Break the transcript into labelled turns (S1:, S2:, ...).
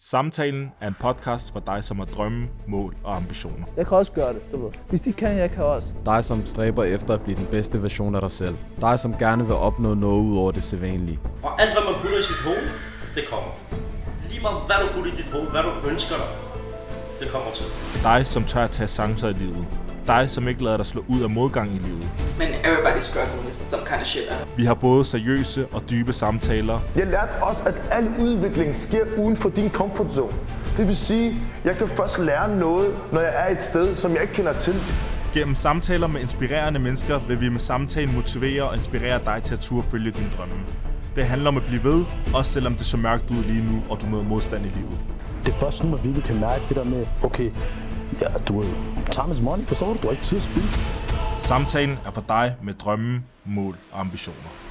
S1: Samtalen er en podcast for dig, som har drømme, mål og ambitioner.
S2: Jeg kan også gøre det, du ved. Hvis de kan, jeg kan også.
S3: Dig, som stræber efter at blive den bedste version af dig selv. Dig, som gerne vil opnå noget ud over det sædvanlige.
S4: Og alt, hvad man putter i sit hoved, det kommer. Lige meget, hvad du putter i dit hoved, hvad du ønsker dig, det kommer til.
S1: Dig, som tør at tage chancer i livet. Dig, som ikke lader dig slå ud af modgang i livet.
S5: man everybody's struggling with some kind of shit.
S1: Vi har både seriøse og dybe samtaler.
S6: Jeg lærte også, at al udvikling sker uden for din comfort zone. Det vil sige, jeg kan først lære noget, når jeg er et sted, som jeg ikke kender til.
S1: Gennem samtaler med inspirerende mennesker vil vi med samtalen motivere og inspirere dig til at turde følge dine drømme. Det handler om at blive ved, også selvom det så mørkt ud lige nu, og du møder modstand i livet.
S7: det er først nu, at vi virkelig kan mærke det der med, okay, ja, du er time is money, forstår du? Du har ikke tid at spille.
S1: Samtalen er for dig med drømme, mål og ambitioner.